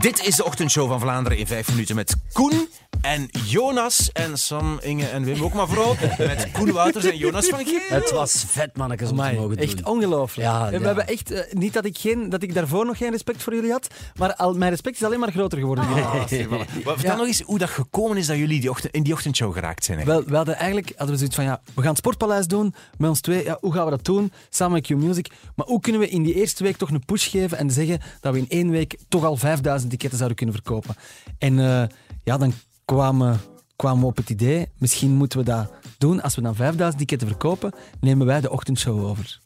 Dit is de ochtendshow van Vlaanderen in 5 minuten met Koen en Jonas en Sam, Inge en Wim ook, maar vooral met Koen Wouters en Jonas van Geel. Het was vet, mannetjes, om te Amai, mogen doen. echt ongelooflijk. Ja, En we ja. hebben echt, eh, niet dat ik, geen, dat ik daarvoor nog geen respect voor jullie had, maar al, mijn respect is alleen maar groter geworden. Ah, Stefan. Maar vertel nog eens hoe dat gekomen is dat jullie die ochtend, in die ochtendshow geraakt zijn. hè. Wel, we hadden eigenlijk hadden we zoiets van, ja, we gaan het Sportpaleis doen met ons twee. Ja, hoe gaan we dat doen? Samen met Q-Music. Maar hoe kunnen we in die eerste week toch een push geven en zeggen dat we in één week toch al 5000 tickets zouden kunnen verkopen? En eh, ja, dan kwamen, kwamen we op het idee, misschien moeten we dat doen. Als we dan 5000 tickets verkopen, nemen wij de ochtendshow over.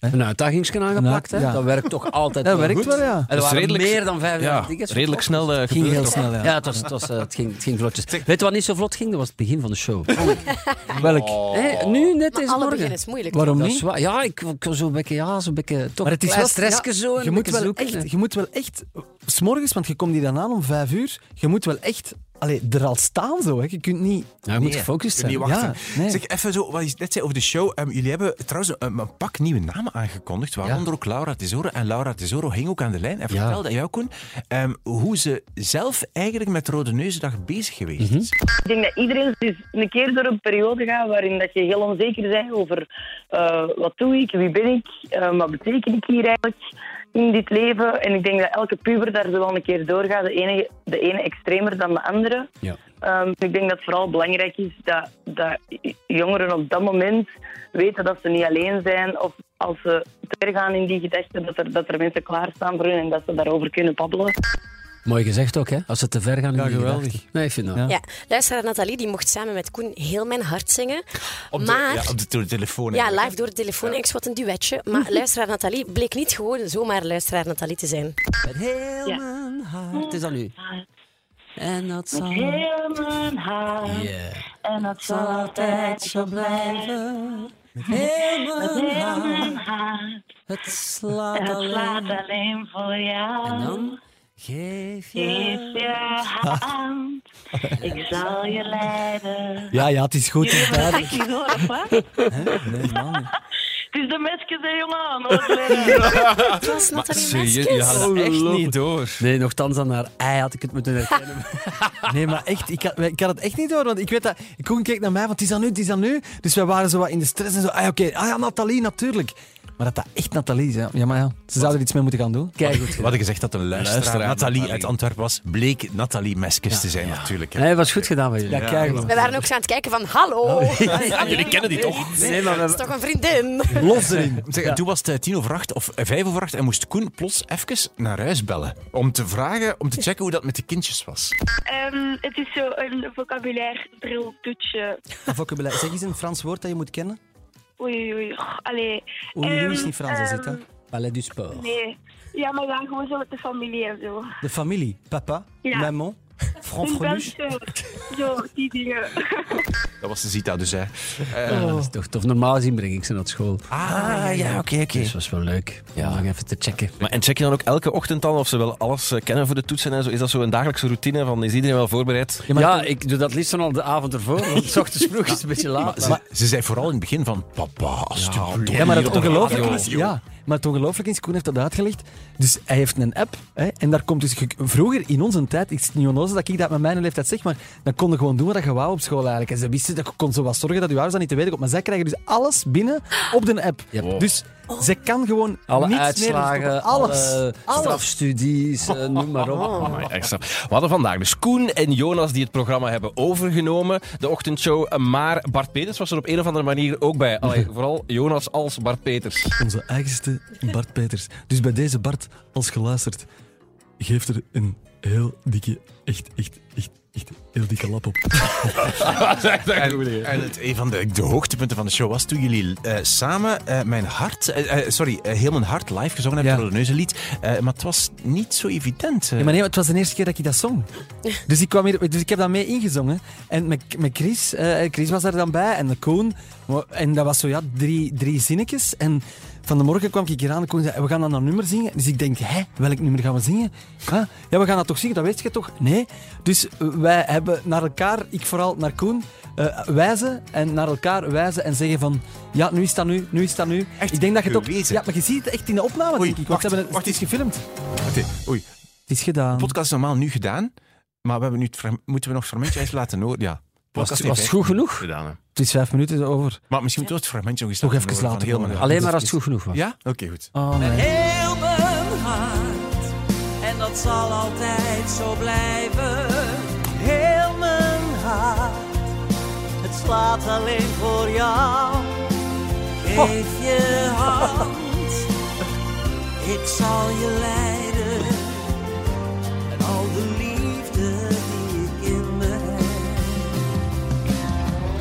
Een uitdagingskanaal aangepakt, hè? Ja. Dat werkt toch altijd Dat wel werkt goed? wel, ja. En er is waren redelijk- meer dan vijf Ja, tickets. redelijk snel eh, Het ging gebeurd. heel snel, ja. Ja, het, was, het, was, eh, het, ging, het ging vlotjes. Weet je wat niet zo vlot ging? Dat was het begin van de show. Welk? Hé, nu, net deze Maar alle morgen. beginnen is moeilijk. Waarom Dat niet? is waar. Ja, ik ik was zo'n beetje, ja, zo'n beetje, toch Maar het is een wel klein stressje ja, zo. en Je een moet, beetje wel zoeken. echt, je moet wel echt, s'morgens, want je komt hier dan aan om vijf uur, je moet wel echt allee, er al staan zo. Hè. Je kunt niet. Ja, je moet Nee. gefocust Kun je zijn. niet wachten. Ja, nee. Zeg even zo, wat je net zei over de show. Ehm, jullie hebben trouwens een, een pak nieuwe namen aangekondigd, waaronder ook Laura Tesoro. En Laura Tesoro hing ook aan de lijn en vertelde aan jou, Koen, ehm, hoe ze zelf eigenlijk met Rode Neuzendag bezig geweest Mhm. is. Ik denk dat iedereen dus een keer door een periode gaat waarin dat je heel onzeker bent over eh, wat doe ik, wie ben ik, eh, wat betekent ik hier eigenlijk in dit leven. En ik denk dat elke puber daar zo wel een keer doorgaat, de ene, de ene extremer dan de andere. Ja. Ehm, ik denk dat het vooral belangrijk is dat, dat jongeren op dat moment weten dat ze niet alleen zijn. Of als ze ver gaan in die gedachten, dat er, dat er mensen klaarstaan voor hun en dat ze daarover kunnen babbelen. Mooi gezegd ook, hè? Als ze te ver gaan in Ja, die geweldig. gedachten. Nee, ik vind dat. Ja. Ja, luisteraar Nathalie die mocht samen met Koen heel mijn hart zingen. Op de, maar... ja, op de tele- telefoon. Ja, eigenlijk. live door de telefoon. Ik wat een duetje. Maar luisteraar Nathalie bleek niet gewoon zomaar luisteraar Nathalie te zijn. Met heel Ja. mijn hart. Is dat nu? En dat zal... Heel mijn hart Yeah. en dat zal altijd zo blijven. Heel mijn hart. hart. Het slaat Het slaat alleen. alleen voor jou. En dan geef Geef je... je hand, ik zal je leiden. Ja, ja, het is goed. het is duidelijk. Ik hoor het, wat? Nee, man. niet. Het is de mesjes, hè, jongen. hoor. Het was Nathalie Zie je, je Meskes. haalt het echt niet door. Nee, nogthans aan haar ei had ik het moeten herkennen. Nee, maar echt, ik had, ik had het echt niet door. Want ik weet dat. Koen keek naar mij, want het is aan nu, het is aan nu. Dus wij waren zo wat in de stress en zo. Ah, oké, ah ja, Nathalie, natuurlijk. Maar dat dat echt Nathalie is, hè. ja, maar ja, ze zouden er iets mee moeten gaan doen. Kijk goed. Wat ik gezegd dat een luisteraar, Luisteraar Nathalie, Nathalie. uit Antwerpen was, bleek Nathalie Meskes te zijn natuurlijk. hè. Nee, was goed gedaan bij jullie. Ja, kijk. We waren ook zo aan het kijken van, hallo, Oh, Ja, jullie kennen die toch? Nee, maar we dat is toch een vriendin? Los erin. Zeg, en Toen was het eh, tien over acht of eh, vijf over acht en moest Koen plots even naar huis bellen. Om te vragen, om te checken hoe dat met de kindjes was. Ehm, het is zo een vocabulaire bril toetsje. Vocabulaire. Zeg eens een Frans woord dat je moet kennen. Oei, oei, oei. Och, Allee. Oei, Ehm, Louis is niet Frans, is het, hè? ehm, Palais du Sport. Nee. Ja, maar dan gewoon zo met de familie en zo. De familie. Papa, Ja. maman, Een Franfreluche. Belgische. Zo, die dingen. Dat was de Zita dus, hè. Ja, dat is toch tof. Normaal zien breng ik ze naar school. Ah, ja, oké, oké. Dus dat was wel leuk. Ja, nog even te checken. Maar en check je dan ook elke ochtend dan of ze wel alles eh, kennen voor de toetsen en zo? Is dat zo een dagelijkse routine van is iedereen wel voorbereid? Ja, ik doe dat liefst dan al de avond ervoor, want 's ochtends vroeg is het een beetje laat. Ze, ze zei vooral in het begin van, papa, alsjeblieft. Ja, maar hier het op de ongelooflijke radio." is, ja, maar het ongelooflijke is, Koen heeft dat uitgelegd. Dus hij heeft een app. Hè, en daar komt dus ge- vroeger in onze tijd, ik het niet onnozel dat ik dat met mijn leeftijd zeg, maar dan konden gewoon doen wat je wou op school eigenlijk. En ze wisten dat je kon zo wat zorgen dat je ouders dat niet te weten komt. Maar zij krijgen dus alles binnen op de app. Yep. Dus Oh. ze kan gewoon Alle niets meer uitslagen, verstoppen. alles. alle alles. strafstudies, eh, noem maar op. Amai, echt straf. We hadden vandaag dus Koen en Jonas die het programma hebben overgenomen, de ochtendshow. Maar Bart Peters was er op een of andere manier ook bij. Allee, vooral Jonas als Bart Peters. Onze eigenste Bart Peters. Dus bij deze Bart, als geluisterd, geeft er een heel dikke, echt, echt, echt, echt heel dikke lap op. En, en het, een van de, de hoogtepunten van de show was toen jullie eh, samen eh, mijn hart, eh, eh, sorry, eh, heel mijn hart live gezongen hebben Ja. voor een neuzenlied. Eh, maar het was niet zo evident. eh. Ja, maar nee, want het was de eerste keer dat ik dat zong. Dus ik, kwam hier, dus ik heb dat mee ingezongen. En met, met Chris, eh, Chris was er dan bij en de Koen. Maar- En dat was zo, ja, drie, drie zinnetjes. En van de morgen kwam ik hier aan en Koen zei, we gaan dan een nummer zingen. Dus ik denk, hè, welk nummer gaan we zingen? Huh? Ja, we gaan dat toch zingen, dat weet je toch? Nee. Dus wij hebben naar elkaar, ik vooral naar Koen, eh, wijzen en naar elkaar wijzen en zeggen van, ja, nu is dat nu, nu is dat nu. Echt ik denk dat je het ook... gewezen? Ja, maar je ziet het echt in de opname, Oei, denk ik. Want wacht, ze hebben het, wacht het is gefilmd. Oké, Oei, Het is gedaan. De podcast is normaal nu gedaan, maar we hebben nu het frag- moeten we nog fragmentje eens laten horen. Ja. Was, was Podcast heeft het goed genoeg? gedaan. hè. Het is vijf minuten over. Maar misschien moeten we het fragmentje nog eens Nog even horen van laten horen. Hilmen. Alleen maar als het goed genoeg was. Ja? Oké, goed. Oh, nee. heel mijn hart. En dat zal altijd zo blijven. Heel mijn hart. Het slaat alleen voor jou. Geef je hand. Ik zal je leiden. En al de liefde die ik in me heb.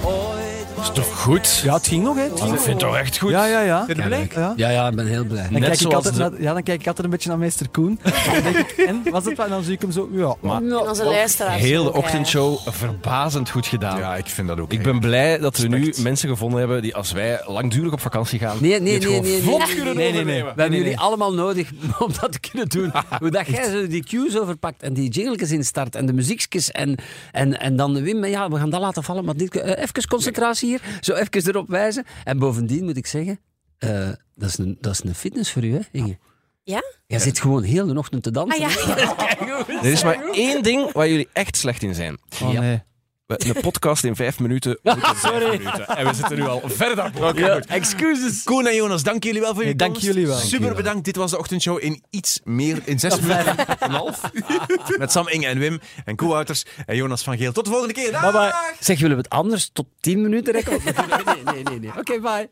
Ooit was Toch goed? Ja, het ging nog, hè. Het Ik ging Oh, vind het toch echt goed? nog. Ja, ja, ja. Zijn jullie blij? Ja. Ja, ja, ik ben heel blij. Dan Net kijk, ik zoals altijd de- naar- ja, dan kijk ik altijd een beetje naar meester Koen. Dan denk ik, en, was het wat? En dan zie ik hem zo, ja. Maar, En onze luisteraars. Heel de ook, eh, hè. ochtendshow verbazend goed gedaan. Ja, ik vind dat ook. Ik ben blij dat we nu mensen gevonden hebben die als wij langdurig op vakantie gaan... Nee, nee, dit nee, gewoon nee, nee. vlot Nee, nee, kunnen nee. overleven. We hebben jullie allemaal nodig om dat te kunnen doen. Hoe dat jij zo die cues overpakt en die jingletjes instart en de muziekjes en, en, en dan Wim, maar ja, we gaan dat laten vallen, maar dit, eh, even concentratie hier, zo even erop wijzen. En bovendien moet ik zeggen, eh, dat, is een, dat is een fitness voor u, hè, Inge? Ja? Jij zit gewoon heel de ochtend te Ah dansen. ja. Er is maar één ding waar jullie echt slecht in zijn. oh, Ja. nee. We- Een podcast in vijf minuten. Sorry. En we zitten nu al verder. excuses. Koen en Jonas, dank jullie wel voor je Hey, dank komst. jullie wel. Dank Super jullie bedankt. Dit was de ochtendshow in iets meer, in zes minuten en een half. Met Sam Inge en Wim en Koehouters en Jonas van Geel. Tot de volgende keer. Dag! Zeg, willen we het anders tot 10 minuten rekken? Nee, nee, nee. nee. Oké, bye.